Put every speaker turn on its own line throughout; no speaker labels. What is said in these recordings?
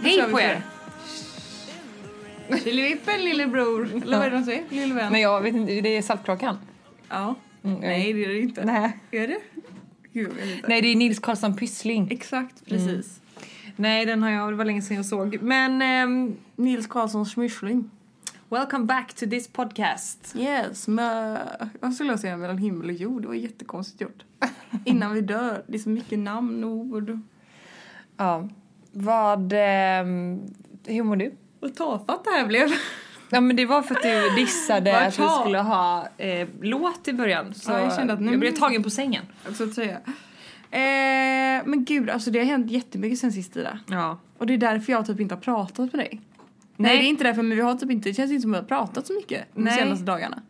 Hej
kör vi
på
på
er! Lillevippen, lillebror. Eller vad är det de säger? Lillevän?
Nej, jag vet inte. Det är Saltkråkan.
Ja.
Mm,
Nej, det är det inte.
Nej.
Är det? Gud, jag vet inte.
Nej, det är Nils Karlsson Pyssling.
Exakt, precis. Mm. Nej, den har jag, det var länge sedan jag såg. Men ehm, Nils Karlsson Schmyschling.
Welcome back to this podcast.
Yes, mö. Vad skulle jag säga mellan himmel och jord? Det var jättekonstigt gjort. Innan vi dör. Det är så mycket namn och ord.
Ja. Vad... ehm, hur mår du?
Vad tafatt det här blev.
Ja, men det var för att du dissade
Vart
att vi
har-
skulle ha eh, låt i början. Så
Ja, jag kände att nu-
jag blev tagen på sängen.
Så att säga. Eh, men gud, alltså det har hänt jättemycket sen sist Ida.
Ja.
Och det är därför jag typ inte har pratat med dig. Nej,
Nej.
det är inte därför men vi har typ inte, det känns inte som att vi har pratat så mycket
Nej.
de senaste dagarna.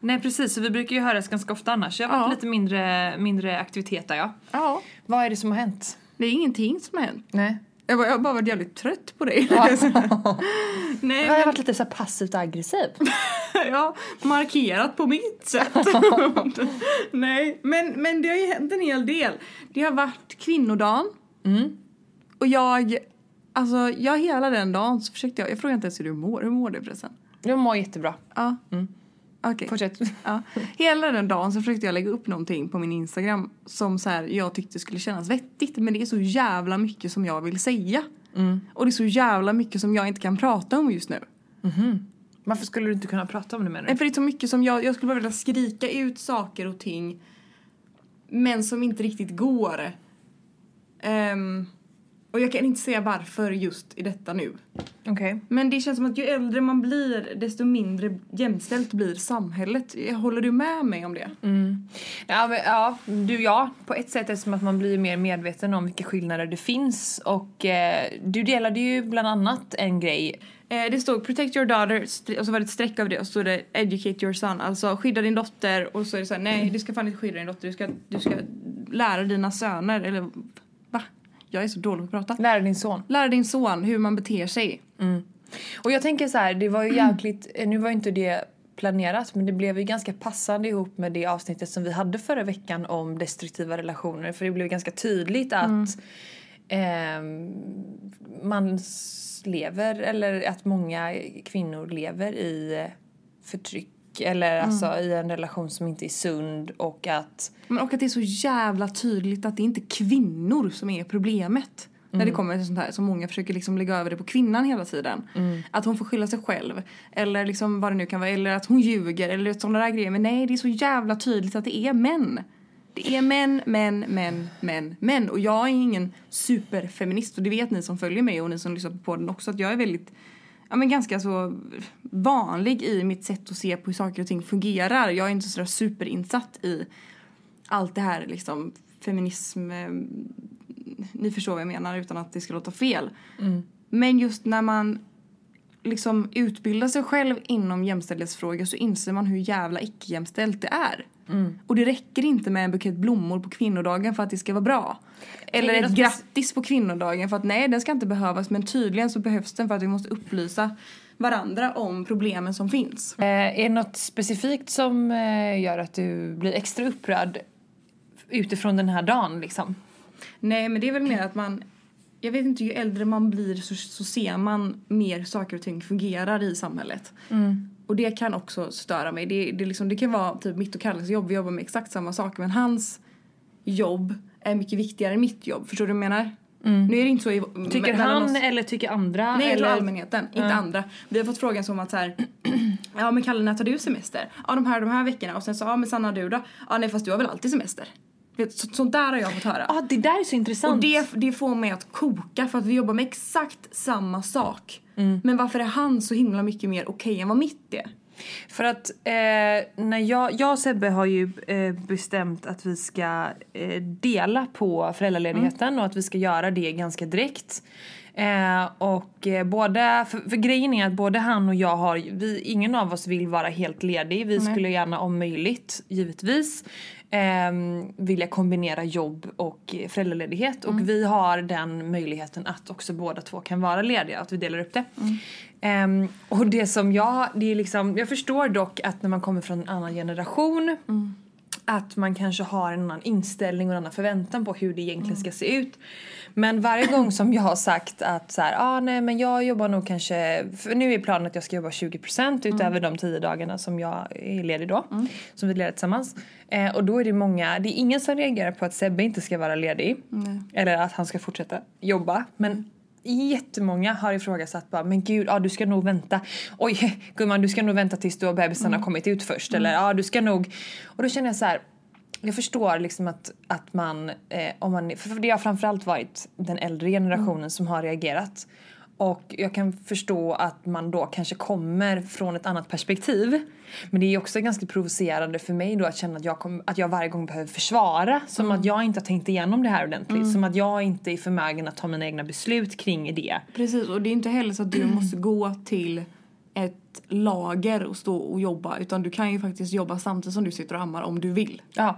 Nej, precis. Så vi brukar ju höras ganska ofta annars. Jag har varit
Ja.
lite mindre, mindre aktivitet där, ja.
Ja.
Vad är det som har hänt?
Det är ingenting som har hänt.
Nej.
Jag, bara, jag har bara varit jävligt trött på dig.
Ja.
Nej,
Jag har varit lite så här passivt aggressiv.
men jag har markerat på mitt sätt. Nej, men, men det har ju hänt en hel del. Det har varit kvinnodagen.
Mm.
Och jag, alltså jag hela den dagen så försökte jag, jag frågade inte ens hur du mår. Hur mår du förresten?
Jag mår jättebra.
Ja. Okej.
Mm. Fortsätt.
Ja. Hela den dagen så försökte jag lägga upp någonting på min Instagram som så här, jag tyckte skulle kännas vettigt men det är så jävla mycket som jag vill säga. Och det är så jävla mycket som jag inte kan prata om just nu.
Varför skulle du inte kunna prata om det menar
Nej,
du?
för det är så mycket som jag, jag skulle bara vilja skrika ut saker och ting men som inte riktigt går. Ehm, och jag kan inte säga varför just i detta nu.
Okej.
Men det känns som att ju äldre man blir desto mindre jämställt blir samhället. Eh, Håller du med mig om det?
Mm. Ja, men, ja, du ja. På ett sätt eftersom att man blir mer medveten om vilka skillnader det finns. Och eh, du delade ju bland annat en grej.
Eh, det stod protect your daughter stre- och så var det ett streck av det och så stod det educate your son. Alltså skydda din dotter och så är det så här, nej du ska fan inte skydda din dotter. Du ska, du ska lära dina söner eller va? Jag är så dålig på att prata.
Lära din son.
Lära din son hur man beter sig.
Och jag tänker så här, det var ju jäkligt, eh, nu var ju inte det planerat men det blev ju ganska passande ihop med det avsnittet som vi hade förra veckan om destruktiva relationer för det blev ganska tydligt att ehm, man s- lever eller att många kvinnor lever i eh, förtryck eller alltså i en relation som inte är sund och att
Men och att det är så jävla tydligt att det inte är kvinnor som är problemet. När det kommer till sånt här som många försöker liksom lägga över det på kvinnan hela tiden. Att hon får skylla sig själv. Eller liksom vad det nu kan vara. Eller att hon ljuger. Eller sådana där grejer. Men nej, det är så jävla tydligt att det är män. Det är män, män, män, män, män. Och jag är ingen superfeminist. Och det vet ni som följer mig och ni som lyssnar på podden också. Att jag är väldigt, ja men ganska så vanlig i mitt sätt att se på hur saker och ting fungerar. Jag är inte sådär superinsatt i allt det här liksom feminism, eh, ni förstår vad jag menar utan att det ska låta fel. Men just när man liksom utbildar sig själv inom jämställdhetsfrågor så inser man hur jävla icke-jämställt det är. Och det räcker inte med en bukett blommor på kvinnodagen för att det ska vara bra. Eller
det
ett
något
grattis på kvinnodagen för att nej den ska inte behövas men tydligen så behövs den för att vi måste upplysa varandra om problemen som finns.
Eh, är det något specifikt som eh, gör att du blir extra upprörd utifrån den här dagen liksom?
Nej, men det är väl mer att man... Jag vet inte, ju äldre man blir så, så ser man mer saker och ting fungerar i samhället.
Mm.
Och det kan också störa mig. Det, det, är liksom, det kan vara typ mitt och Kalles jobb, vi jobbar med exakt samma saker men hans jobb är mycket viktigare än mitt jobb. Förstår du vad jag menar? Nu är det inte så i,
Mm. Tycker han
mellan oss.
eller tycker andra?
Nej, jag tror
eller...
allmänheten, inte andra. Vi har fått frågan som att så här, ja men Kalle när tar du semester? Ja de här de här veckorna och sen så ja men Sanna du då? Ja nej fast du har väl alltid semester? Vet, så, sånt där har jag fått höra.
Ja, Ah, det där är så intressant.
Och det, det får mig att koka för att vi jobbar med exakt samma sak. Men varför är han så himla mycket mer okej än vad mitt är?
För att eh, när jag, jag och Sebbe har ju eh, bestämt att vi ska eh, dela på föräldraledigheten och att vi ska göra det ganska direkt. Eh, och eh, både, för, för grejen är att både han och jag har, vi, ingen av oss vill vara helt ledig. Vi skulle gärna om möjligt, givetvis, eh, vilja kombinera jobb och eh, föräldraledighet. Och vi har den möjligheten att också båda två kan vara lediga, att vi delar upp det. Ehm, och det som jag, det är liksom, jag förstår dock att när man kommer från en annan generation att man kanske har en annan inställning och en annan förväntan på hur det egentligen ska se ut. Men varje gång som jag har sagt att så här, ah, nej men jag jobbar nog kanske, för nu är planen att jag ska jobba 20% utöver de 10 dagarna som jag är ledig då, som vi leder tillsammans. Eh, och då är det många, det är ingen som reagerar på att Sebbe inte ska vara ledig eller att han ska fortsätta jobba. Men Jättemånga har ifrågasatt bara, men gud, ja, du ska nog vänta. Oj gumman, du ska nog vänta tills du och bebisen har kommit ut först. Eller ja, du ska nog. Och då känner jag så här, jag förstår liksom att, att man, eh, om man, för det har framförallt varit den äldre generationen som har reagerat. Och jag kan förstå att man då kanske kommer från ett annat perspektiv. Men det är ju också ganska provocerande för mig då att känna att jag, kom, att jag varje gång behöver försvara. Som att jag inte har tänkt igenom det här ordentligt. Som att jag inte är förmögen att ta mina egna beslut kring det.
Precis, och det är inte heller så att du måste gå till ett lager och stå och jobba utan du kan ju faktiskt jobba samtidigt som du sitter och ammar om du vill.
Ja.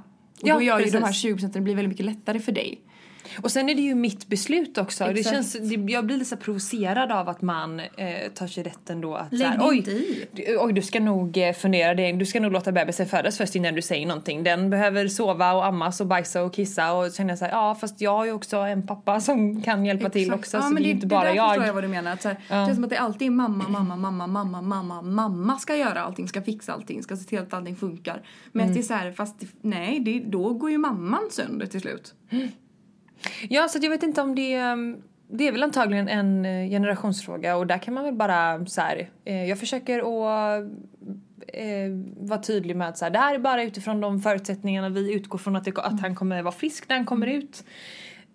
Och då gör ju de här 20 procenten blir väldigt mycket lättare för dig.
Och sen är det ju mitt beslut också. Det
Exakt.
känns, det, jag blir lite så här provocerad av att man eh, tar sig rätten då att
Lägg
så här,
dig inte i."
du- oj du ska nog eh, fundera, det- du ska nog låta bebisen födas först innan du säger någonting. Den behöver sova och ammas och bajsa och kissa och så känner jag så här, ja fast jag har ju också en pappa som kan hjälpa till
Exakt.
också
Ja,
så
men
det är ju inte bara
där
jag.
förstår jag vad du menar. Att så här, Det känns som att det alltid är mamma, mamma, mamma, mamma, mamma, mamma ska göra allting, ska fixa allting, ska se till att allting funkar. Men det är
Mm.
så här, fast det- nej, det, då går ju mamman sönder till slut.
Ja, så att jag vet inte om det... ehm, Det är väl antagligen en eh, generationsfråga och där kan man väl bara så här, eh, Jag försöker att eh, vara tydlig med att så här, det här är bara utifrån de förutsättningarna vi utgår från att, det, att
Mm.
han kommer vara frisk när han kommer ut.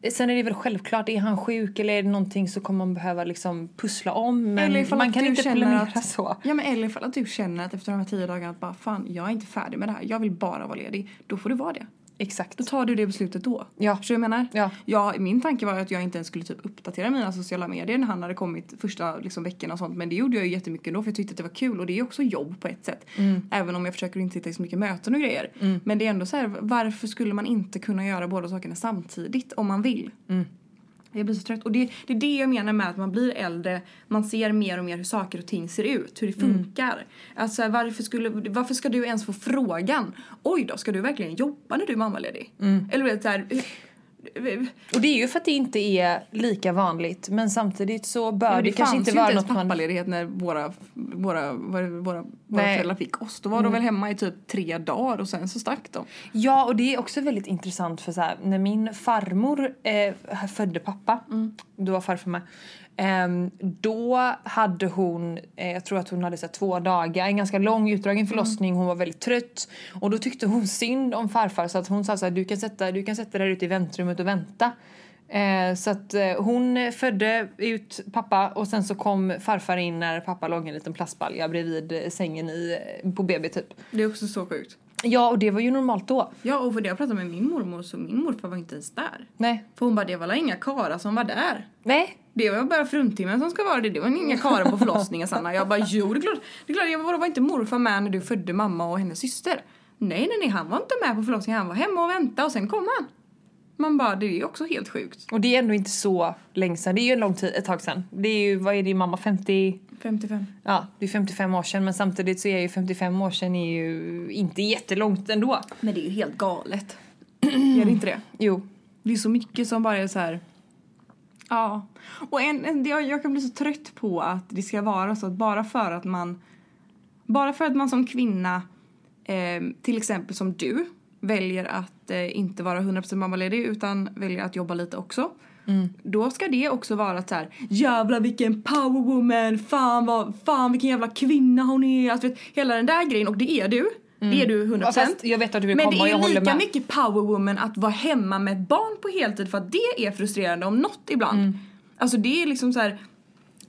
Eh, Sen är det väl självklart, är han sjuk eller är det någonting så kommer man behöva liksom pussla om men
Eller ifall
man
att
kan
du
inte
känner
planera
att-
så.
Ja, men eller ifall att du känner att efter de här tio dagarna att bara fan, jag är inte färdig med det här, jag vill bara vara ledig. Då får du vara det.
Exakt.
Då tar du det beslutet då.
Ja.
Förstår du vad jag menar?
Ja.
ja. Min tanke var ju att jag inte ens skulle typ uppdatera mina sociala medier när han hade kommit första liksom, veckorna och sånt. Men det gjorde jag ju jättemycket då för jag tyckte att det var kul och det är ju också jobb på ett sätt.
Mm.
Även om jag försöker inte sitta i så mycket möten och grejer. Men det är ändå så här, varför skulle man inte kunna göra båda sakerna samtidigt om man vill? Jag blir så trött. Och det, det är det jag menar med att man blir äldre. Man ser mer och mer hur saker och ting ser ut, hur det
Mm.
funkar. Alltså varför, skulle, varför ska du ens få frågan? Oj då, ska du verkligen jobba när du är mammaledig? Eller du vet såhär...
Och Mm. det är ju för att det inte är lika vanligt men samtidigt så bör det,
Det, det
kanske
fanns
inte
ju inte
vara
ens
något man...
pappaledighet när våra, våra, våra, våra, våra
Nej. Mm.
föräldrar fick oss. Då var de väl hemma i typ tre dagar och sen så stack de.
Ja, och det är också väldigt intressant för så här, när min farmor eh, födde pappa, då var farfar med, ehm, då hade hon, eh, jag tror att hon hade så här, två dagar, en ganska lång utdragen förlossning, hon var väldigt trött och då tyckte hon synd om farfar så att hon sa så här, du kan sätta, du kan sätta dig där ute i väntrummet och vänta. Eh, så att eh, hon födde ut pappa och sen så kom farfar in när pappa låg i en liten plastbalja bredvid eh, sängen i, på BB typ.
Det är också så sjukt.
Ja, och det var ju normalt då.
Ja, och för det jag pratade med min mormor så min morfar var inte ens där.
Nej.
För hon bara, det var väl inga karlar som var där.
Nej,
Det var bara fruntimmen som ska vara det, det var inga karlar på förlossningen Sanna. Jag bara jo det är klart, det är klart jag var, var inte morfar med när du födde mamma och hennes syster? Nej nej nej han var inte med på förlossningen, han var hemma och väntade och sen kom han. Man bara det är ju också helt sjukt.
Och det är ändå inte så länge sedan. Det är ju en lång tid, ett tag sedan. Det är ju, vad är din mamma, 50?
55.
Ja, det är 55 år sedan men samtidigt så är ju 55 år sedan är ju inte jättelångt ändå.
Men det är ju helt galet. är det inte det?
Jo.
Det är så mycket som bara är så här. Ja. Och en, en, jag, jag kan bli så trött på att det ska vara så att bara för att man bara för att man som kvinna eh, till exempel som du väljer att eh, inte vara 100% mammaledig utan väljer att jobba lite också.
Mm.
Då ska det också vara så här jävla vilken power woman, fan vad, fan vilken jävla kvinna hon är. Alltså, vet, hela den där grejen och det är du. Det är du 100%.
Mm. Ja, fast jag vet att du vill
Men
komma och jag
det är ju
håller
lika
med.
mycket power woman att vara hemma med ett barn på heltid för att det är frustrerande om något ibland.
Mm.
Alltså det är liksom så här.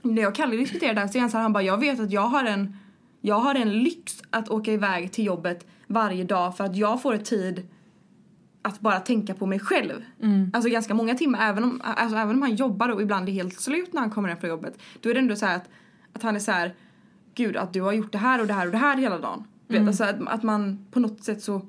När jag och Kalle diskuterade det här senast, han bara jag vet att jag har en jag har en lyx att åka iväg till jobbet varje dag för att jag får tid att bara tänka på mig själv.
Mm.
Alltså ganska många timmar, även om, alltså, även om han jobbar och ibland är helt slut när han kommer hem från jobbet. Då är det ändå så här att, att han är så här, gud att du har gjort det här och det här och det här hela dagen. Du
Mm.
vet, alltså att, att man på något sätt så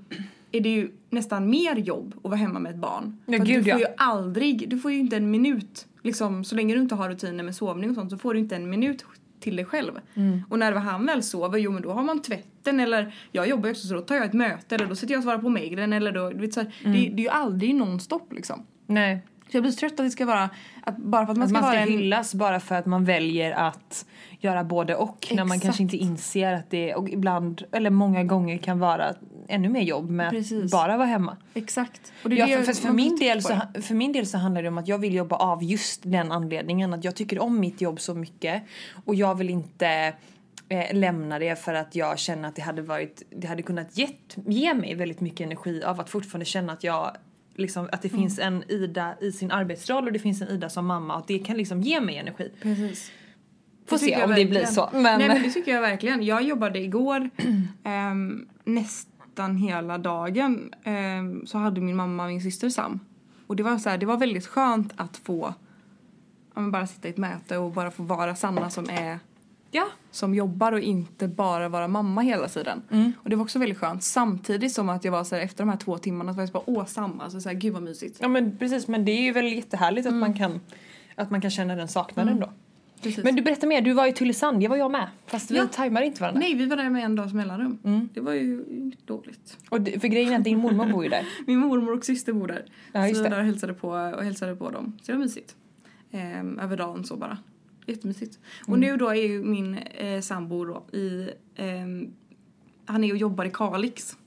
är det ju nästan mer jobb att vara hemma med ett barn.
Ja,
För att
gud,
du får
ja.
ju aldrig, du får ju inte en minut, liksom så länge du inte har rutiner med sovning och sånt så får du inte en minut till dig själv.
Mm.
Och när han väl sover, jo men då har man tvätten eller jag jobbar ju också så då tar jag ett möte eller då sitter jag och svarar på mejlen eller då, du vet, så här, det,
Mm.
det är ju aldrig nonstop liksom.
Nej.
Så jag blir så trött att det ska vara, att bara för att man
Att
ska,
man ska
vara en
hyllas bara för att man väljer att göra både och när man kanske inte inser att det och ibland, eller många gånger kan vara ännu mer jobb med
Precis.
att bara vara hemma.
Exakt. Och det är
Ja,
det
för,
jag-
för, för,
man
min
blir
del
trött
så,
på det.
för min del så handlar det om att jag vill jobba av just den anledningen att jag tycker om mitt jobb så mycket och jag vill inte eh, lämna det för att jag känner att det hade varit, det hade kunnat gett, ge mig väldigt mycket energi av att fortfarande känna att jag Liksom, att det
Mm.
finns en Ida i sin arbetsroll och det finns en Ida som mamma och att det kan liksom ge mig energi.
Precis.
Får
tycker
se
jag
om det blir
verkligen.
så. Men,
Nej men det tycker jag verkligen. Jag jobbade igår ehm, nästan hela dagen ehm, så hade min mamma och min syster Sam. Och det var, så här, det var väldigt skönt att få ja, men bara sitta i ett möte och bara få vara Sanna som är
ja.
som jobbar och inte bara vara mamma hela tiden. Och det var också väldigt skönt samtidigt som att jag var så här, efter de här två timmarna så var jag så bara åh Sam alltså så här, gud vad mysigt.
ja men precis men det är ju väl jättehärligt att,
Mm.
man kan, att man kan känna den saknaden då.
Precis.
Men du berättar mer, du var i Tylösand, det var jag med. Fast vi
Ja.
tajmar inte varandra.
Nej vi var där med en dags mellanrum. Det var ju dåligt.
Och det, för grejen är att din mormor bor ju där.
Min mormor och syster bor där.
Ja,
så
just
vi
det.
var där och hälsade på, och hälsade på dem. Så det var mysigt. Ehm, över dagen så bara. Jättemysigt. Och
Mm.
nu då är ju min eh, sambo då i... ehm, han är och jobbar i Kalix.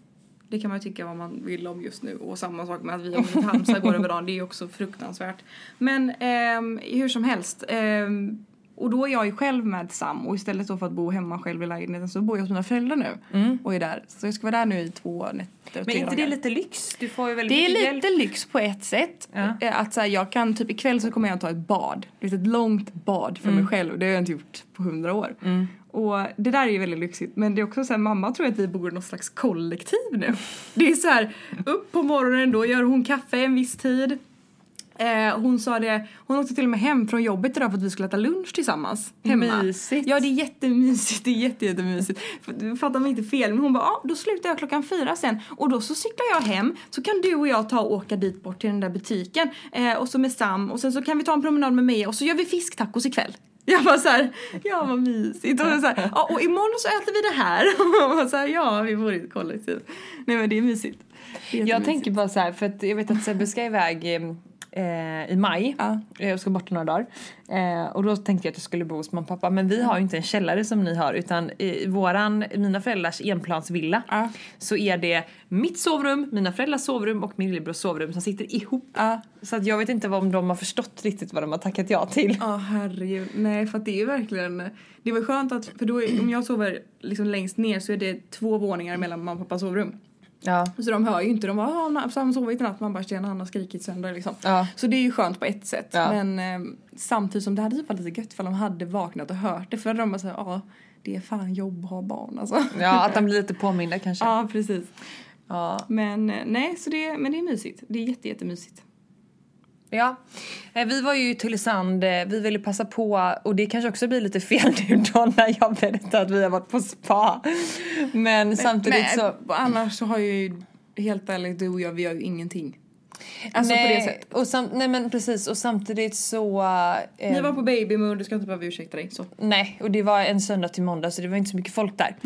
Det kan man ju tycka vad man vill om just nu. Och samma sak med att vi och till Halmstad går över dagen. Det är ju också fruktansvärt. Men ehm, hur som helst. ehm, och då är jag ju själv med Sam och istället då för att bo hemma själv i lägenheten så bor jag hos mina föräldrar nu. Och är där. Så jag ska vara där nu i två nätter och
Mm. Men
tre
inte det
dagar.
är lite lyx? Du får ju väldigt
Det är
mycket
lite
hjälp.
lyx på ett sätt.
Ja.
Eh, Att så här, jag kan typ ikväll så kommer jag att ta ett bad. Du vet, Ett långt bad för
Mm.
mig själv. Det har jag inte gjort på hundra år. Och det där är ju väldigt lyxigt. Men det är också så här, mamma tror att vi bor i något slags kollektiv nu. Det är så här, upp på morgonen då gör hon kaffe en viss tid. Eh, hon sa det, hon åkte till och med hem från jobbet idag för att vi skulle äta lunch tillsammans. Hemma.
Mysigt.
Ja det är jättemysigt, det är jätte, jättemysigt. F- Fattar mig inte fel men hon bara, ah, då slutar jag klockan fyra sen och då så cyklar jag hem så kan du och jag ta och åka dit bort till den där butiken eh, och så med Sam och sen så kan vi ta en promenad med mig och så gör vi fisktacos ikväll. Jag bara såhär, ja vad mysigt. Och, sen så här, ja, och imorgon så äter vi det här. Och man bara så här, ja vi bor i ett kollektiv. Nej men det är mysigt. Det är
Jag
jättemysigt.
tänker bara så här, för att jag vet att Sebbe ska iväg eh, i maj.
Ja.
Eh, Jag ska bort några dagar. Eh, och då tänkte jag att jag skulle bo hos mamma och pappa. Men vi har ju inte en källare som ni har utan i våran, mina föräldrars enplansvilla
Ja.
så är det mitt sovrum, mina föräldrars sovrum och min lillebrors sovrum som sitter ihop.
Ja.
Så att jag vet inte vad- om de har förstått riktigt vad de har tackat ja till.
Ja, herregud. Nej, för att det är ju verkligen... Det var skönt att... För då, är- om jag sover liksom längst ner så är det två våningar mellan mamma och pappas sovrum.
Ja.
Så de hör ju inte. De bara ah, han har- så har han sovit i natt. Man bara tjena han har skrikit sönder liksom.
Ja.
Så det är ju skönt på ett sätt.
Ja.
Men eh, samtidigt som det hade ju varit lite gött ifall de hade vaknat och hört det. För då hade de bara såhär ja det är fan jobb att ha barn alltså.
ja, att de blir lite påminda kanske.
ja precis.
Ja.
Men eh, nej så det, men det är mysigt. Det är jätte, jättemysigt.
Ja, Eh, vi var ju i Tylösand. eh, Vi ville passa på och det kanske också blir lite fel nu då när jag berättar att vi har varit på spa. Men, samtidigt
men,
så...
Annars så har ju helt ärligt du och jag vi gör ju ingenting. Alltså på det sättet.
Och sam, nej men precis och samtidigt så... eh,
Ni var på babymood, du ska inte behöva ursäkta dig. Så.
Nej, och det var en söndag till måndag så det var inte så mycket folk där.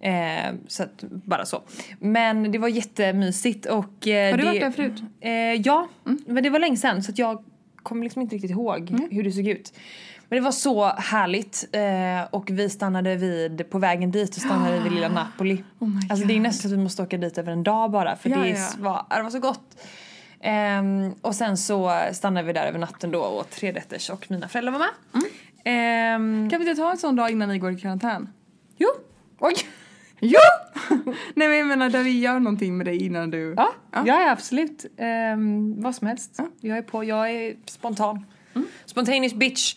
Eh, så att, bara så. Men det var jättemysigt och... eh,
Har du
det,
varit där förut?
Eh, ja,
Mm.
men det var länge sedan så att jag kommer liksom inte riktigt ihåg hur det såg ut. Men det var så härligt eh, och vi stannade vid, på vägen dit och stannade vid lilla Napoli.
Oh my
alltså det är nästan så att vi måste åka dit över en dag bara för
Ja,
det, är
ja.
s- Var, det var så gott. Ehm, och sen så stannade vi där över natten då och åt trerätters och mina föräldrar var med.
Mm.
Ehm,
Kan vi inte ta en sån dag innan ni går i karantän?
jo! Oj!
Jo! Nej men jag menar där vi gör någonting med dig innan du...
Ja, ja. ja absolut. Ehm, vad som helst. Jag är på, jag är spontan. Spontaneous bitch.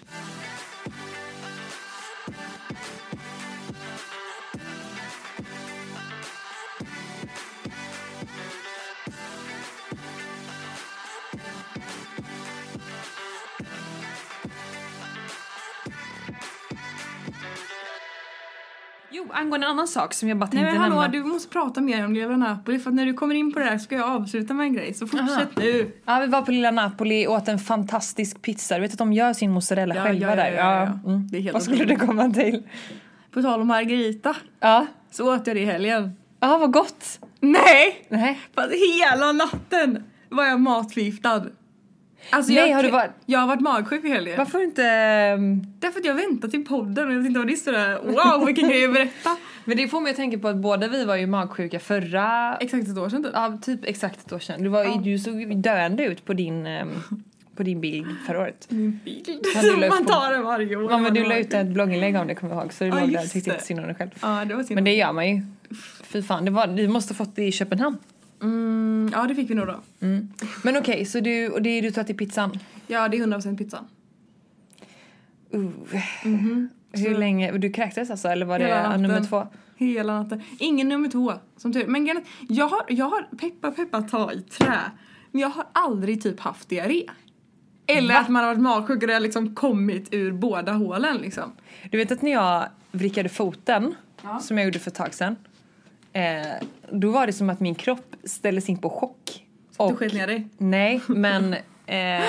Jo, angående en annan sak som jag bara
Nej
tänkte
men hallå,
nämna.
du måste prata mer om Lilla Napoli för att när du kommer in på det här ska jag avsluta med en grej. Så fortsätt nu.
Ja, vi var på lilla Napoli och åt en fantastisk pizza. Du vet att de gör sin mozzarella
Ja,
själva
ja, ja,
där?
ja, ja, ja.
Mm.
Det är helt
Vad skulle du komma till?
På tal om Margarita
Ja,
så åt jag det i helgen.
ja vad gott!
Nej!
Nej.
För att hela natten var jag matförgiftad. Alltså
Nej,
jag,
har du varit-
jag har varit magsjuk i helgen.
Varför inte... ehm,
Därför att jag väntar till podden och jag tänkte vad det är sådär wow vilken grej att berätta.
Men det får mig att tänka på att båda vi var ju magsjuka förra...
Exakt ett år sedan typ.
Ja, typ exakt ett år sedan. Du, var,
Ja.
du såg döende ut på din, ehm, på din bild förra året.
Min bild.
Ja, du la ut
Man
på-
tar den varje år.
Ja, men du la ut ett blogginlägg om det kommer jag ihåg så du
Ja,
låg där och
just
tyckte
det.
inte synd om dig själv.
Ja det var synd.
Men det gör man ju. Fy fan, det var, du måste ha fått det i Köpenhamn.
Mm, ja det fick vi nog då.
Mm. Men okej, så du, och det är du tar till pizzan.
Ja det är 100% pizzan.
Uh.
Mhm.
Hur
Så-
länge, du kräktes alltså eller var det
Hela natten.
nummer två?
Hela natten. Ingen nummer två, som tur Men grejen är att jag har, jag har peppa peppa ta i trä. Men jag har aldrig typ haft diarré. Eller att man har varit magsjuk och det har liksom kommit ur båda hålen liksom.
Du vet att när jag vrickade foten,
Ja.
som jag gjorde för ett tag sedan, eh, då var det som att min kropp ställdes in på chock.
Du sket ner dig.
Nej, men eh,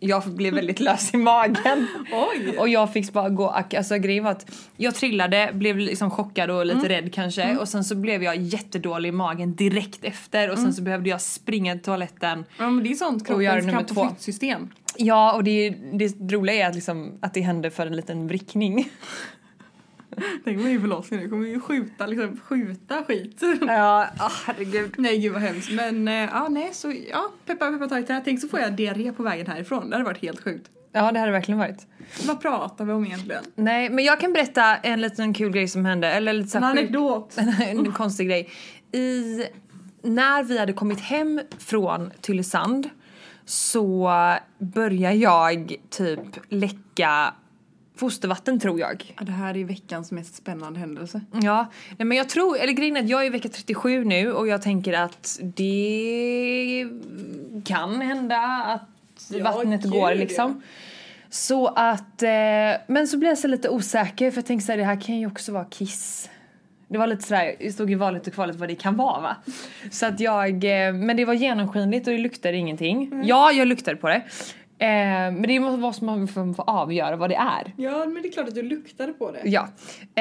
jag blev väldigt lös i magen.
Oj!
Och jag fick bara gå, ak- alltså grejen var att jag trillade, blev liksom chockad och
Mm.
lite rädd kanske och sen så blev jag jättedålig i magen direkt efter och sen
Mm.
så behövde jag springa till toaletten.
Ja men det är sånt
Och göra
kroppens
nummer
kamp
två.
och flyktsystem.
Ja och det, det roliga är att, liksom, att det hände för en liten vrickning.
Tänk mig i förlossningen, du kommer ju skjuta liksom, skjuta skit.
Ja, ah, herregud.
nej gud vad hemskt. Men eh, ja nej så ja, peppa peppa ta i trä. Tänk så får jag diarré på vägen härifrån. Det hade varit helt sjukt.
Ja, det hade verkligen varit.
Vad pratar vi om egentligen?
Nej, men jag kan berätta en liten kul grej som hände. Eller lite så
En
här sjuk-
anekdot.
en konstig grej. I, när vi hade kommit hem från Tylösand så började jag typ läcka fostervatten tror jag.
Ja, Det här är veckans mest spännande händelse.
Ja, nej, men jag tror, eller grejen är att jag är i vecka 37 nu och jag tänker att det kan hända att
Ja,
vattnet
gud,
går
ja.
liksom. Så att, eh, men så blev jag så lite osäker för jag tänkte så här, det här kan ju också vara kiss. Det var lite sådär, det stod i valet och kvalet vad det kan vara va. Så att jag, eh, men det var genomskinligt och det luktade ingenting.
Mm.
Ja, jag luktade på det. Eh, men det måste man få få avgöra vad det är.
Ja, men det är klart att du luktade på det.
Ja.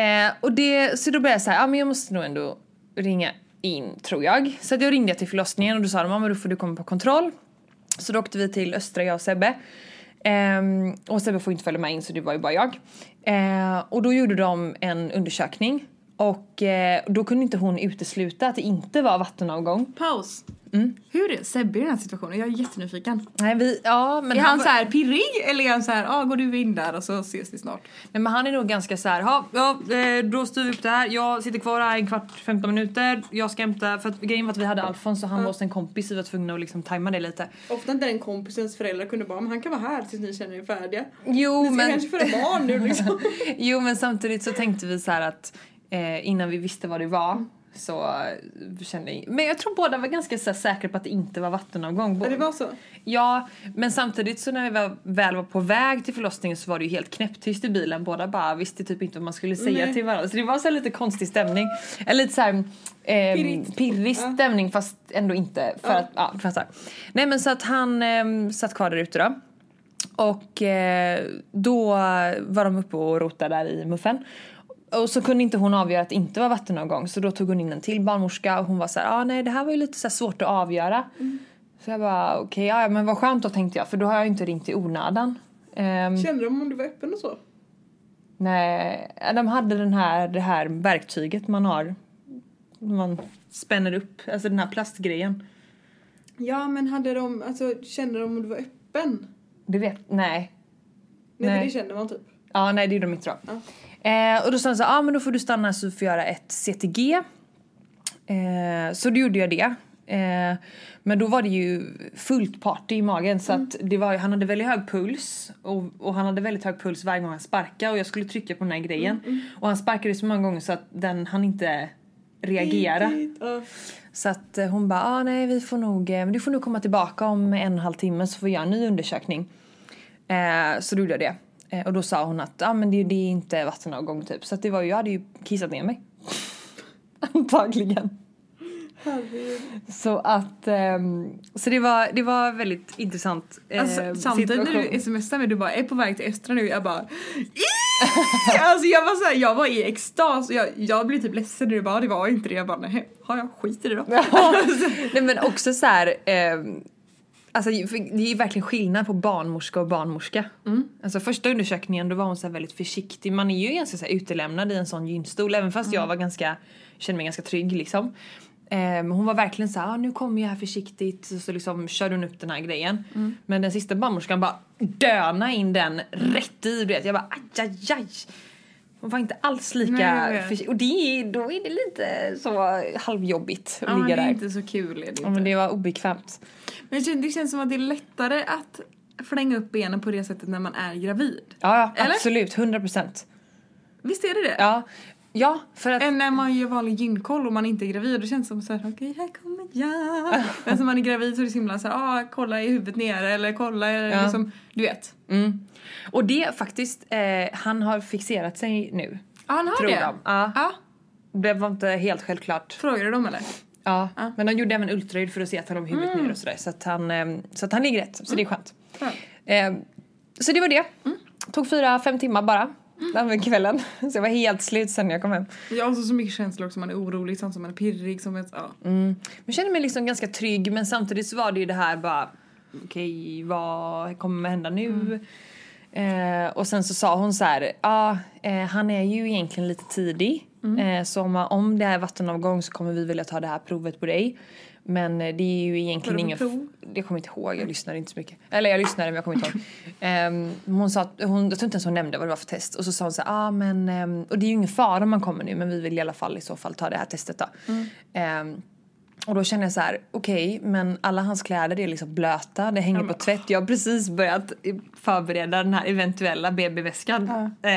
Eh, och det, så då började jag säga, ja men jag måste nog ändå ringa in tror jag. Så att jag ringde till förlossningen och då sa de, ja men då får du komma på kontroll. Så då åkte vi till Östra, jag och Sebbe. Ehm, och Sebbe får inte följa med in så det var ju bara jag. Eh, och då gjorde de en undersökning och eh, då kunde inte hon utesluta att det inte var vattenavgång.
Paus. Hur är Sebbe i den här situationen? Jag är jättenyfiken.
Nej, vi, ja, men
Är han
var-
så här pirrig eller är han så här, ja ah, går du in där och så ses vi snart?
Nej, men han är nog ganska så här, "Ja, ja, eh, då styr vi upp det här. Jag sitter kvar här en kvart, 15 minuter. Jag ska hämta, för att grejen var att vi hade Alfons och han var hos en kompis. Vi var tvungna att liksom tajma det lite.
Ofta inte den kompisens föräldrar kunde bara, men han kan vara här tills ni känner er färdiga. Oh,
Jo men,
föda barn nu liksom.
jo men samtidigt så tänkte vi så här att eh, innan vi visste vad det var så eh, kände jag, men jag tror båda var ganska så här, säkra på att det inte var vattenavgång. Bo-
så?
Ja, men samtidigt så när vi var, väl var på väg till förlossningen så var det ju helt knäpptyst i bilen. Båda bara visste typ inte vad man skulle säga
Nej.
till varandra. Så det var så här lite konstig stämning. Eller lite så här, ehm,
Pirrigt.
pirrig
Ja.
stämning fast ändå inte. För
Ja.
att, ja, för att så här. Nej men så att han ehm, satt kvar där ute då. Och eh, då var de uppe och rotade där i muffen. Och så kunde inte hon avgöra att det inte var vattenavgång så då tog hon in en till barnmorska och hon var så här, ah, nej det här var ju lite så här svårt att avgöra. Så jag bara okej, ja, ja men vad skönt då tänkte jag för då har jag ju inte ringt i onödan. Ehm,
Kände de om du var öppen och så?
nej, de hade den här, det här verktyget man har. Man spänner upp, alltså den här plastgrejen.
Ja men hade de, alltså kände de om du var öppen?
Du vet, nej.
Nej,
Nej.
för det kände man typ.
Ja, nej det gjorde de inte då. Eh, och då sa han så här, ah, men då får du stanna här så du får göra ett CTG. Eh, så då gjorde jag det. Eh, men då var det ju fullt party i magen så att det var, ju- han hade väldigt hög puls och, och han hade väldigt hög puls varje gång han sparkade och jag skulle trycka på den här grejen. Och han sparkade så många gånger så att den han inte reagera.
Ja.
Så att eh, hon bara, ah, nej vi får nog, eh, men du får nog komma tillbaka om en och en halv timme så får vi göra en ny undersökning. Eh, så då gjorde jag det. Eh, och då sa hon att ah, men det, det är inte vattenavgång typ. Så att det var ju, jag hade ju kissat ner mig. Antagligen. Så att, ehm, så det var, det var väldigt intressant eh,
Alltså, samtidigt när
situation.
du smsar mig, du bara är på väg till Östra nu, jag bara "Ih!" Alltså jag var såhär, jag var i extas och jag, jag blev typ ledsen när du bara det var inte det. Jag bara nej, har jag skit i det då.
Nej men också så här. ehm, Alltså, för det är ju verkligen skillnad på barnmorska och barnmorska.
Mm.
Alltså, första undersökningen då var hon så här väldigt försiktig. Man är ju ganska så här utelämnad i en sån gynstol även fast
Mm.
jag var ganska, kände mig ganska trygg. Liksom. Ehm, hon var verkligen så här, ah, nu kommer jag här försiktigt. Så, så liksom körde hon upp den här grejen.
Mm.
Men den sista barnmorskan bara döna in den rätt i. du vet. Jag bara aj, aj, aj. Hon var inte alls lika
Nej, jag vet.
försiktig. Och det, är- då är det lite så halvjobbigt att
Ja, men det
ligga
är
där.
inte så kul är det
Ja,
inte.
men det var obekvämt.
Men det kän- det känns som att det är lättare att flänga upp benen på det sättet när man är gravid.
Ja, ja
Eller?
absolut. 100 procent.
Visst är det det?
Ja. ja, för att...
Än när man gör vanlig gynkoll och man inte är gravid, då känns det som såhär okej här kommer jag. Men när man är gravid så är det så himla såhär ah kolla i huvudet nere eller kolla
Ja.
ja. liksom, du vet.
Mm. Och det faktiskt, eh, han har fixerat sig nu.
Ja han har
Tror
det.
de. Ja.
ja.
Det var inte helt självklart.
Frågar du dem eller?
Ja.
Ja. Mm.
Men de gjorde även ultraljud för att se att han låg huvudet ner och sådär. Så att han, eh, så att han ligger rätt. Så det är skönt.
Ja. Mm.
Eh, så det var det. Tog fyra, fem timmar bara. Den kvällen. Så jag var helt slut sen när jag kom hem.
Jag har också så mycket känslor också, man är orolig samtidigt som man är pirrig. Som ett, ja.
Mm. Jag kände mig liksom ganska trygg men samtidigt så var det ju det här bara okej vad kommer hända nu? Eh, och sen så sa hon så här, ja eh, han är ju egentligen lite tidig eh, så om, om det är vattenavgång så kommer vi vilja ta det här provet på dig. Men eh, det är ju
Var det
egentligen
på
inget...
prov?
Jag kommer inte ihåg, jag lyssnade inte så mycket. Eller jag lyssnade men jag kommer inte ihåg. Ehm, hon sa att, hon, jag tror inte ens hon nämnde vad det var för test. Och så sa hon så här, ah, men, ehm, och det är ju ingen fara om man kommer nu men vi vill i alla fall i så fall ta det här testet då. Ehm, och då känner jag så här, okej men alla hans kläder är liksom blöta, det hänger på tvätt. Jag har precis börjat förbereda den här eventuella BB-väskan. Eh,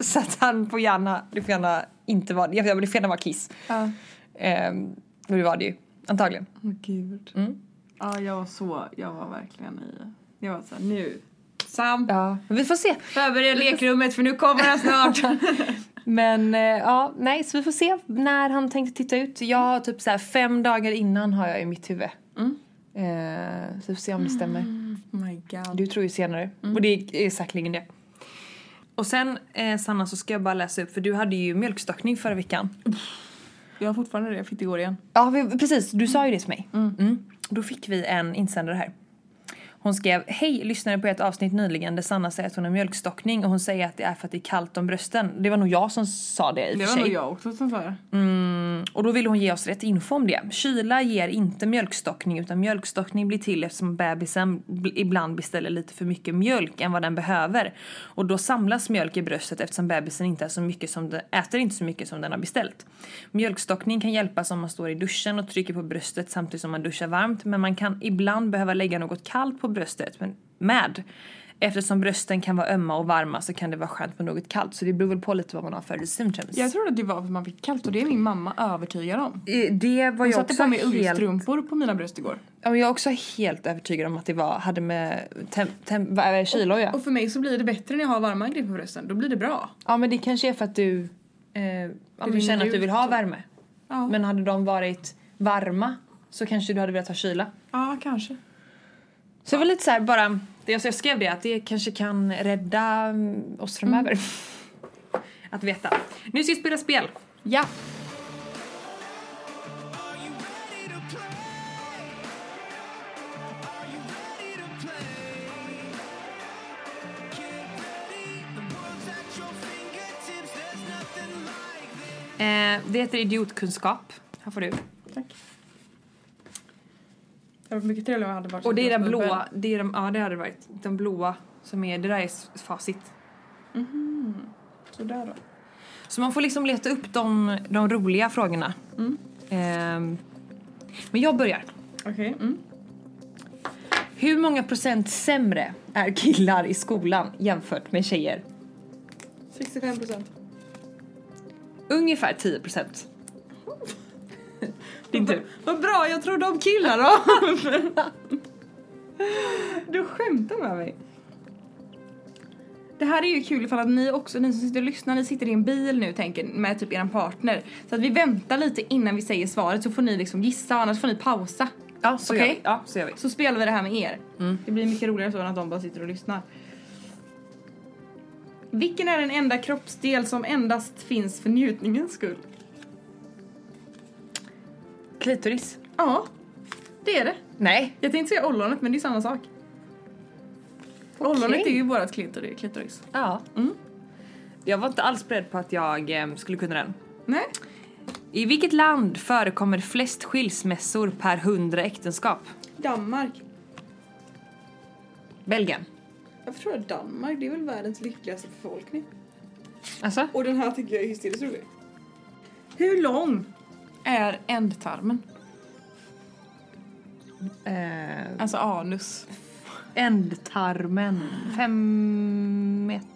så att han får gärna, det får gärna inte vara, jag vill- det får gärna vara kiss.
Ja.
Ehm, och det var det ju, antagligen.
Åh gud. Ja, jag var så, jag var verkligen i, jag var såhär nu. Sam,
Ja, men vi får se.
förbered lekrummet för nu kommer han snart.
Men eh, ja, nej så vi får se när han tänkte titta ut. Jag har typ så här fem dagar innan har jag i mitt huvud.
Mm.
Eh, så vi får se om det stämmer.
oh my god.
Du tror ju senare. Och det är säkerligen det. Mm. Och sen eh, Sanna så ska jag bara läsa upp för du hade ju mjölkstockning förra veckan.
Jag har fortfarande det, jag fick det igår igen.
Ja vi- precis, du sa ju det till mig. Mm. Då fick vi en insändare här. Hon skrev Hej, lyssnade på ett avsnitt nyligen där Sanna säger att hon har mjölkstockning och hon säger att det är för att det är kallt om brösten. Det var nog jag som sa det i och
Det
för
var
sig.
nog jag också som sa det.
Och då vill hon ge oss rätt info om det. Kyla ger inte mjölkstockning utan mjölkstockning blir till eftersom bebisen bl- ibland beställer lite för mycket mjölk än vad den behöver. Och då samlas mjölk i bröstet eftersom bebisen inte är så mycket som den, äter inte så mycket som den har beställt. Mjölkstockning kan hjälpa om man står i duschen och trycker på bröstet samtidigt som man duschar varmt men man kan ibland behöva lägga något kallt på bröstet men med. Eftersom brösten kan vara ömma och varma så kan det vara skönt med något kallt så det beror väl på lite vad man har för symptoms.
Jag trodde att det var för att man fick kallt och det är min mamma övertygad om.
Eh, Det var
Hon
jag
satte
också
på mig
helt
ullstrumpor på mina bröst igår.
Ja, men jag är också helt övertygad om att det var, hade med tem, tem, vad är det, kilo att göra.
Och för mig så blir det bättre när jag har varma grejer på brösten, då blir det bra.
Ja men det kanske är för att du, eh, ja, men du
rinner
känner att du
ut
vill ha
och-
värme.
Ja,
Men hade de varit varma så kanske du hade velat ha kyla.
ja kanske.
Så det var lite så här bara, det jag jag skrev det att det kanske kan rädda mm, oss framöver. Att veta. Nu ska vi spela spel.
Ja.
Eh, det heter idiotkunskap. Här får du.
Tack. Det var mycket trevligare om jag hade varit
Och det är den
snubben.
blåa, det är de, ja det hade det varit. Den blåa som är, det där är s- facit.
Sådär då.
Så man får liksom leta upp de, de roliga frågorna. Ehm, men jag börjar.
Okej. Mm.
Hur många procent sämre är killar i skolan jämfört med tjejer?
65 procent.
Ungefär 10 procent. Din tur.
Vad bra, jag trodde om killar då. du skämtar med mig. Det här är ju kul ifall att ni också, ni som sitter och lyssnar, ni sitter i en bil nu tänker med typ eran partner. Så att vi väntar lite innan vi säger svaret så får ni liksom gissa och annars får ni pausa.
Ja, så
Okej.
gör vi. Ja, så gör vi.
Så spelar vi det här med er. Det blir mycket roligare så än att de bara sitter och lyssnar. Vilken är den enda kroppsdel som endast finns för njutningens skull?
Klitoris.
Ja, det är det.
Nej.
Jag tänkte säga ollonet men det är samma sak. Ollonet är ju vårat klitori- klitoris.
Ja.
Mm.
Jag var inte alls beredd på att jag eh, skulle kunna den.
Nej.
I vilket land förekommer flest skilsmässor per hundra äktenskap?
Danmark.
Belgien.
Jag tror att Danmark, det är väl världens lyckligaste befolkning.
Alltså?
Och den här tycker jag är hysteriskt rolig. Hur lång är ändtarmen?
Eh,
Alltså anus.
ändtarmen. Fem meter?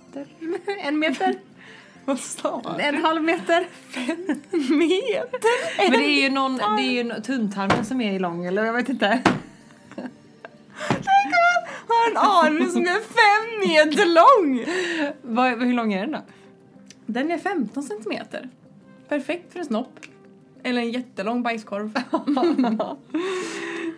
en meter?
Vad sa
En halv meter?
Meter?
Men det är ju någon, det är ju no- tunntarmen som är lång eller jag vet inte.
Har en anus som är fem meter lång!
Vad, hur lång är den då?
Den är 15 centimeter. Perfekt för en snopp. Eller en jättelång bajskorv.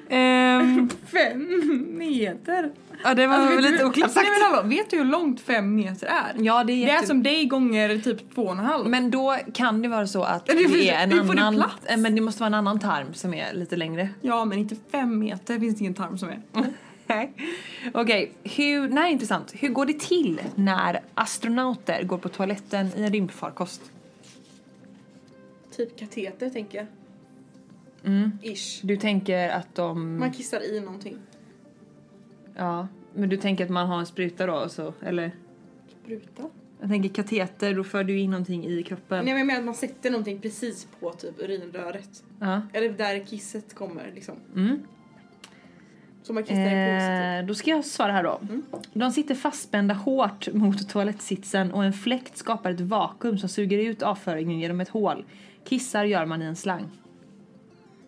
Ehm,
fem meter?
ja det var
Alltså, vet
väl
du-
lite oklart sagt.
Nej, men hallå, vet du hur långt fem meter är?
Ja det är,
Det är som dig gånger typ två och en halv.
Men då kan det vara så att
Ja, det
det,
finns-
är en
hur får du
annan...
plats?
eh, Men det måste vara en annan tarm som är lite längre.
Ja, men inte fem meter finns det ingen tarm som är.
Nej. Okej, hur... Nej, intressant. Hur går det till när astronauter går på toaletten i en rymdfarkost?
Typ kateter tänker jag. Mm. Ish.
Du tänker att de...
Man kissar i någonting.
Ja. Men du tänker att man har en spruta då och så, eller?
Spruta?
Jag tänker kateter, då för du in någonting i kroppen.
Nej men jag menar att man sätter någonting precis på typ urinröret.
Ja.
Eller där kisset kommer liksom.
Mm.
Så man kissar i en påse. Mm. typ.
Eh, då ska jag svara här då. De sitter fastspända hårt mot toalettsitsen och en fläkt skapar ett vakuum som suger ut avföringen genom ett hål. Kissar gör man i en slang.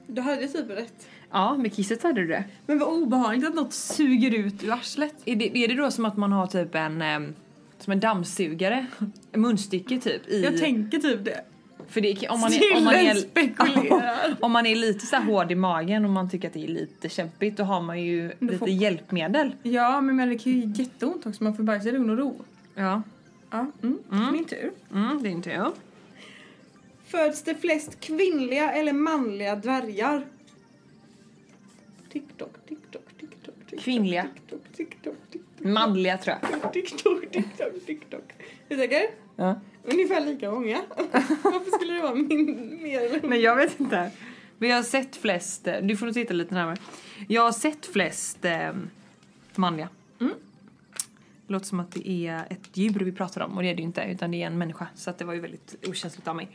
Du hade typ rätt.
Ja, med kisset hade du det.
Men vad obehagligt att något suger ut ur arslet.
Är det, är det då som att man har typ en ehm, som en dammsugare, en munstycke typ i...
Jag tänker typ det.
för det, om, man är,
Sillen
om, man
spekulerar.
är, om man är lite så här hård i magen och man tycker att det är lite kämpigt då har man ju
Då
lite
får-
hjälpmedel.
Ja men, men det kan ju göra jätteont också. Man får bajsa i lugn och ro.
Ja.
Ja. Min tur.
Mm, det är inte jag.
Föds det flest kvinnliga eller manliga dvärgar? TikTok, TikTok, TikTok, TikTok.
Kvinnliga.
TikTok, TikTok, TikTok.
Manliga tror jag.
TikTok, TikTok, TikTok. Är du säker?
Ja.
Ungefär lika många. Varför skulle det vara min, mer eller mindre?
Nej jag vet inte. Men jag har sett flest, eh, du får nog titta lite närmare. Jag har sett flest eh, manliga.
Mm.
Det låter som att det är ett djur vi pratar om och det är det ju inte utan det är en människa så att det var ju väldigt okänsligt av mig.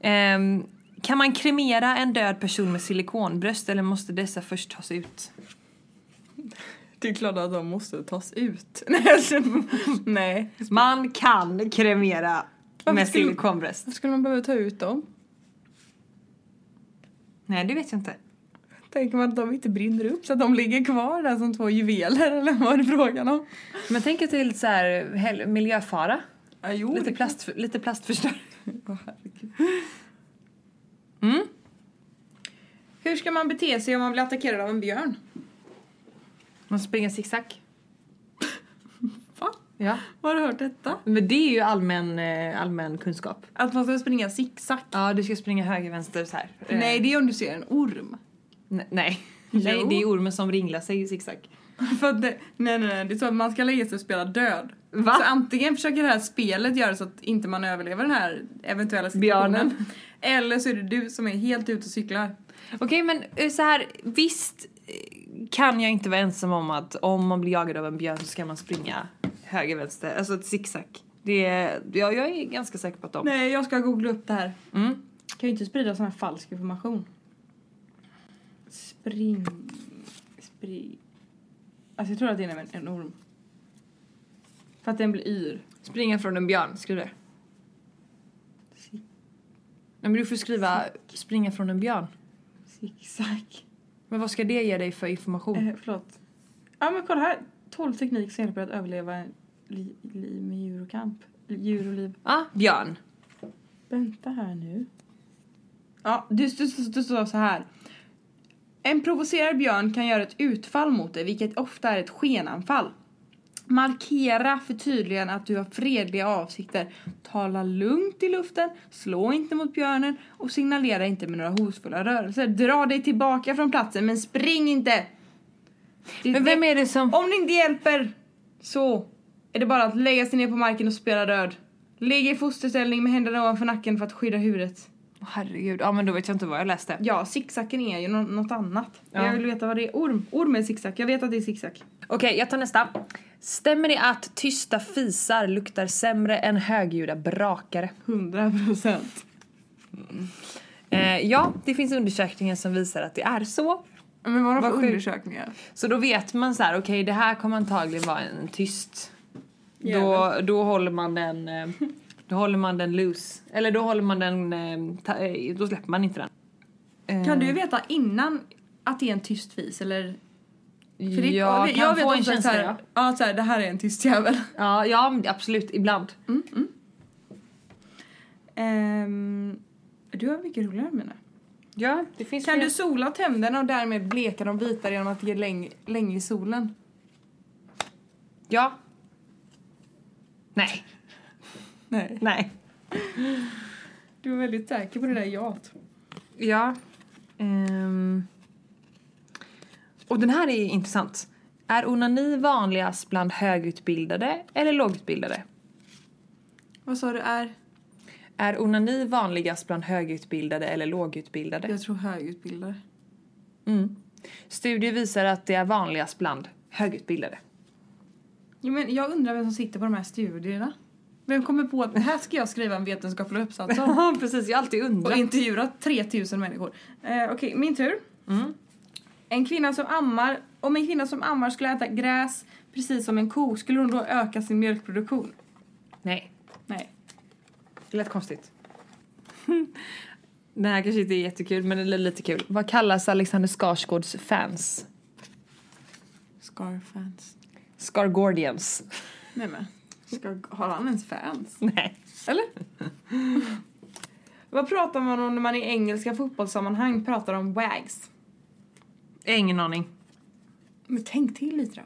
Ehm, kan man kremera en död person med silikonbröst eller måste dessa först tas ut?
Det är klart att de måste tas ut. Nej, alltså, nej.
Man kan kremera
Varför
med
skulle-
silikonbröst.
Varför skulle man behöva ta ut dem?
Nej det vet jag inte.
Tänker man att de inte brinner upp så att de ligger kvar där som två juveler eller vad är det frågan om?
Men tänk att det är lite så här hel- miljöfara.
Ja, jo,
Lite, plast, lite plastförstöring.
Mm. Hur ska man bete sig om man blir attackerad av en björn?
Man springer zigzag.
Va?
Ja.
Har du hört detta?
Men det är ju allmän, eh, allmän kunskap.
Att man ska springa zigzag.
Ja, du ska springa höger, vänster så här. Eh,
Nej, det är om du ser en orm.
ne- nej.
Jo.
nej, det är ormen som ringlar sig i zigzag.
För att det, nej, nej, nej, det är så att man ska lägga sig och spela död.
Va?
Så antingen försöker det här spelet göra så att inte man överlever den här eventuella situationen.
Björnen.
Eller så är det du som är helt ute och cyklar.
Okej, men eh, så här, visst eh, kan jag inte vara ensam om att om man blir jagad av en björn så ska man springa höger, vänster, alltså ett zigzag. Det är, ja, jag är ganska säker på att de...
Nej, jag ska googla upp det här.
Mm.
Kan ju inte sprida sån här falsk information. Spring... Spring... Alltså jag tror att det är en, en orm. För att den blir yr.
Springa från en björn, skriv det.
Zig-
Nej, men du får skriva springa från en björn.
Zigzag.
Men vad ska det ge dig för information?
Eh, förlåt. Ja men kolla här. 12 teknik som hjälper att överleva en Li, liv med djur och kamp. Djur och liv.
Ja, Ah, Björn.
Vänta här nu. Ja, du, du, du, du står så här. En provocerad björn kan göra ett utfall mot dig, vilket ofta är ett skenanfall. Markera för tydligen att du har fredliga avsikter. Tala lugnt i luften, slå inte mot björnen och signalera inte med några hotfulla rörelser. Dra dig tillbaka från platsen, men spring inte! Det-
Men vem
det-
är det som...
Om det inte hjälper så är det bara att lägga sig ner på marken och spela röd. Ligg i fosterställning med händerna ovanför nacken för att skydda huvudet.
Åh, herregud, ja men då vet jag inte vad jag läste.
Ja, zigzacken är ju nå- något annat.
Ja.
Jag vill veta vad det är. Orm. Orm är zigzag. Jag vet att det är zigzag.
Okej, jag tar nästa. Stämmer det att tysta fisar luktar sämre än högljudda brakare?
100 procent.
Eh, ja, det finns undersökningar som visar att det är så.
Men vad
Vad
för
sjukt.
undersökningar?
Så då vet man så här, okej det här kommer antagligen vara en tyst. Då,
Jävel.
då håller man den eh, då håller man den loose. Eller då håller man den eh, ta, eh, då släpper man inte den. Eh,
Kan du veta innan att det är en tyst fis eller? För det-
jag kan få en
ofta
känsla.
så
ja.
här, ja. så här, det här är en tyst jävel.
Ja, ja, men absolut ibland. mm.
Ehm, du har mycket roligare än mina.
Ja, det finns
Kan du sola tänderna och därmed bleka dem vita genom att ligga länge, länge i solen?
Ja. Nej,
Nej.
nej.
Du var väldigt säker på det där jaet.
Ja. Ehm. Och den här är intressant. Är onani vanligast bland högutbildade eller lågutbildade?
Vad sa du är?
Är onani vanligast bland högutbildade eller lågutbildade?
Jag tror högutbildade.
Mm. Studier visar att det är vanligast bland högutbildade.
Jo, men jag undrar vem som sitter på de här studierna. Vem kommer på att här ska jag skriva en vetenskaplig uppsats om?
precis. Jag har alltid
Och
undrat.
intervjua 3000 människor. Eh, Okej, min tur.
Mm.
En kvinna som ammar, om en kvinna som ammar skulle äta gräs precis som en ko, skulle hon då öka sin mjölkproduktion?
Nej,
Nej.
det lät konstigt. Den här kanske inte är jättekul, men det är lite kul. Vad kallas Alexander Skarsgårds fans?
Scarfans.
Scargårdians.
Nej men, ska, har han ens fans?
Nej.
Eller? Vad pratar man om när man i engelska fotbollssammanhang pratar om wags?
Ingen aning.
Men tänk till lite då.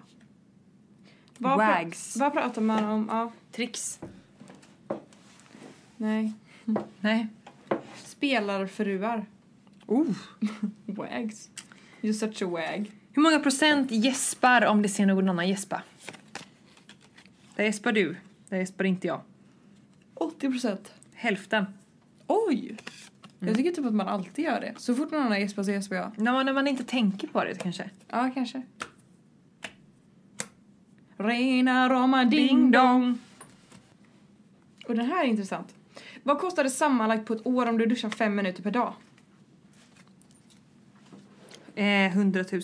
Vad pra-
Wags.
Vad pratar man om? Ja,
Tricks.
nej.
Nej.
Spelarfruar.
Oh.
Wags. You're such a wag.
Hur många procent gäspar om det ser någon annan gäspa? Där gäspar du. Där gäspar inte jag.
80 procent.
Hälften.
Oj! Jag tycker typ att man alltid gör det. Så fort någon annan gäspar så gäspar jag.
När man, när man inte tänker på det kanske.
Ja, kanske. Rena rama ding dong. Och den här är intressant. Vad kostar det sammanlagt på ett år om du duschar fem minuter per dag?
Eh, 100 000.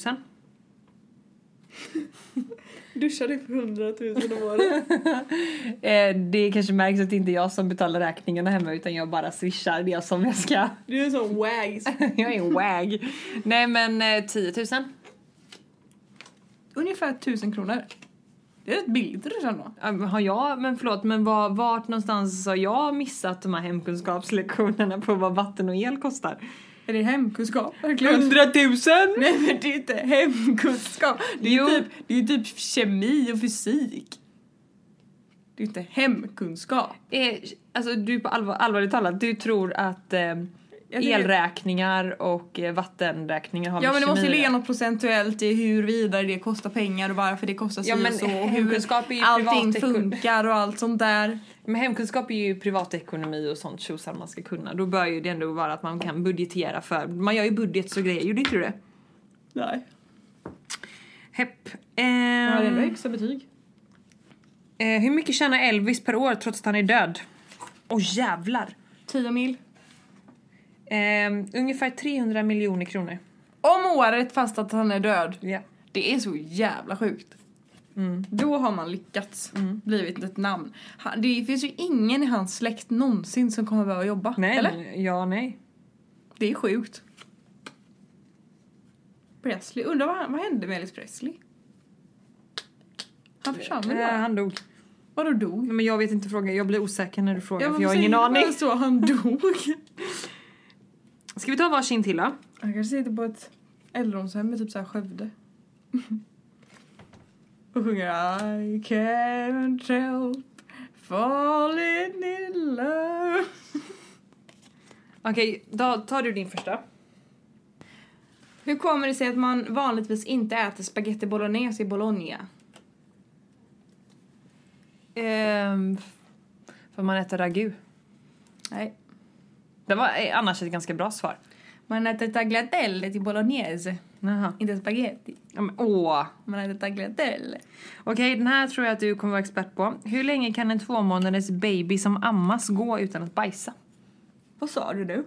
Duschar du för 100 000 om året?
Eh, det kanske märks att det inte är jag som betalar räkningarna hemma utan jag bara swishar det som jag ska.
Du är en sån wags.
jag är en wag. Nej men eh, 10 000.
Ungefär 1000 kronor. Det är rätt billigt att duscha ändå.
Eh, Har jag, men förlåt, men var, vart någonstans har jag missat de här hemkunskapslektionerna på vad vatten och el kostar?
Är det hemkunskap verkligen?
100 000!
Nej men det är inte hemkunskap. Det är
Jo.
ju typ, det är ju typ kemi och fysik. Det är ju inte hemkunskap.
Eh, alltså du på allvar, allvarligt talat, du tror att eh,
Jag tycker-
elräkningar och eh, vattenräkningar har
Ja men det måste ju
kemi
ligga
att-
något procentuellt i hur vidare det kostar pengar och varför det kostar si
Ja, men
och så och hur
hemkunskap är ju
allting
privatekonomi.
funkar och allt sånt där.
Men hemkunskap är ju privatekonomi och sånt tjosan man ska kunna. Då bör ju det ändå vara att man kan budgetera för, man gör ju budget och grejer, gjorde inte du det?
Nej.
Hepp.
Jag har
Ehm,
ändå högsta betyg.
eh, hur mycket tjänar Elvis per år trots att han är död? Åh jävlar!
10 mil.
Ehm, ungefär 300 miljoner kronor.
Om året fast att han är död.
Ja.
Det är så jävla sjukt.
Mm.
Då har man lyckats. Blivit ett namn. Han, det finns ju ingen i hans släkt någonsin som kommer behöva jobba.
Nej,
Eller?
ja nej.
Det är sjukt. Presley. Undrar vad, han- vad hände med Elvis Presley? Han försvann väl
Eh,
bara?
han dog.
Vadå dog?
Men jag vet inte frågan, jag blir osäker när du frågar
men
för jag har
säg
ingen
bara
aning.
så, han dog.
Ska vi ta varsin till då?
Han kanske sitter på ett äldreomshem med typ såhär Skövde. Och sjunger I can't help falling in love.
Okej, då tar du din första.
Hur kommer det sig att man vanligtvis inte äter spaghetti bolognese i Bologna?
Ehm, för man äter ragu.
Nej.
Det var eh, annars ett ganska bra svar.
Man äter tagliatelle till bolognese,
Jaha.
inte spaghetti.
Ja, men, åh.
Man äter tagliatelle.
Okej, den här tror jag att du kommer vara expert på. Hur länge kan en två månaders baby som ammas gå utan att bajsa?
Vad sa du nu?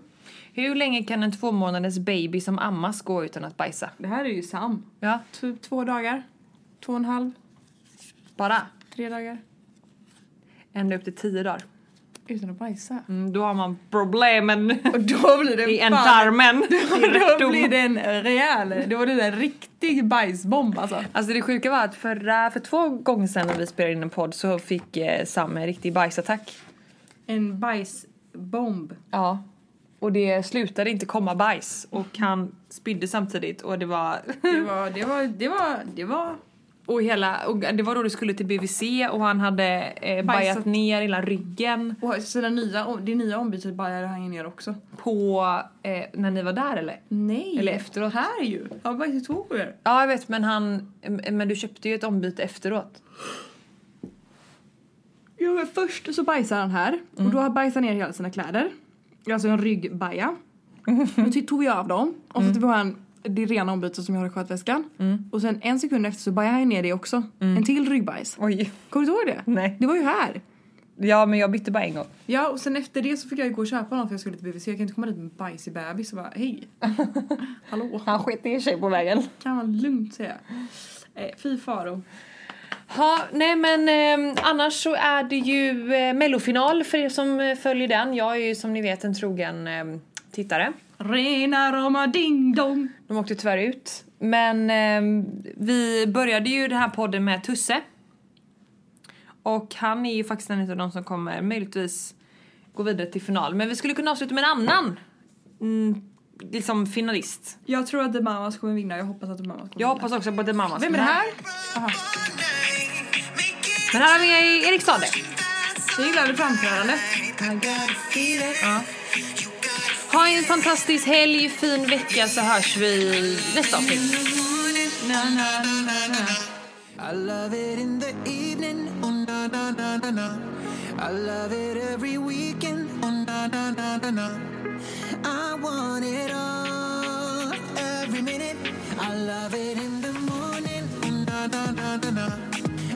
Hur länge kan en två månaders baby som ammas gå utan att bajsa?
Det här är ju Sam.
Ja,
Typ två dagar. Två och en halv.
bara
Tre dagar.
ända upp till tio dagar.
Utan att bajsa.
Mm, då har man problemen
Och då blir det
i
fan-
ändtarmen.
Då blir det en rejäl, då var det en riktig bajsbomb alltså.
Alltså det sjuka var att förra, för två gånger sedan när vi spelade in en podd så fick eh, Sam en riktig bajsattack.
En bajsbomb.
Ja. Och det slutade inte komma bajs och han spydde samtidigt och det var...
Det var, det var, det var, det var.
och hela, och det var då du skulle till BVC och han hade eh, bajat ner hela ryggen
Och sina nya, det nya ombytet bajade han ju ner också.
på, eh, när ni var där eller?
Nej!
Eller
Eller
efteråt.
här ju. Han bajsade två gånger.
Ja jag vet men han, eh, men du köpte ju ett ombyte efteråt.
Jo men först så bajsade han här och då bajsade han ner hela sina kläder. Alltså en ryggbaja. Då ty- tog vi av dem och så tog vi han det rena ombytet som jag hade i skötväskan. Och sen en sekund efter så bajade han ner det också. En till ryggbajs.
Oj.
Kommer du ihåg det?
Nej.
Det var ju här.
Ja men jag bytte bara en gång.
Ja, och sen efter det så fick jag ju gå och köpa något för jag skulle till BVC. Jag kan inte komma dit med en bajsig bebis och bara hej. Hallå.
Han sket ner sig på vägen.
Kan man lugnt säga. Eh, fy faro.
Ja, nej men eh, annars så är det ju eh, mellofinal för er som eh, följer den. Jag är ju som ni vet en trogen eh, tittare.
Rena rama ding dong.
De åkte tyvärr ut. Men eh, vi började ju den här podden med Tusse. Och han är ju faktiskt en av de som kommer möjligtvis gå vidare till final. Men vi skulle kunna avsluta med en annan mm, liksom finalist.
Jag tror att The Mamas kommer vinna. Jag hoppas att The Mamas kommer
Jag hoppas också på The Mamas.
Vem är det här?
Men här har vi Erik Sade.
Jag gillade framträdandet.
Ha en fantastisk helg, fin vecka så hörs vi nästa avsnitt.
I love it in the evening, oh na na na na na. I love it every weekend, oh na na na na na. I want it all every minute. I love it in the morning, oh na na na na na.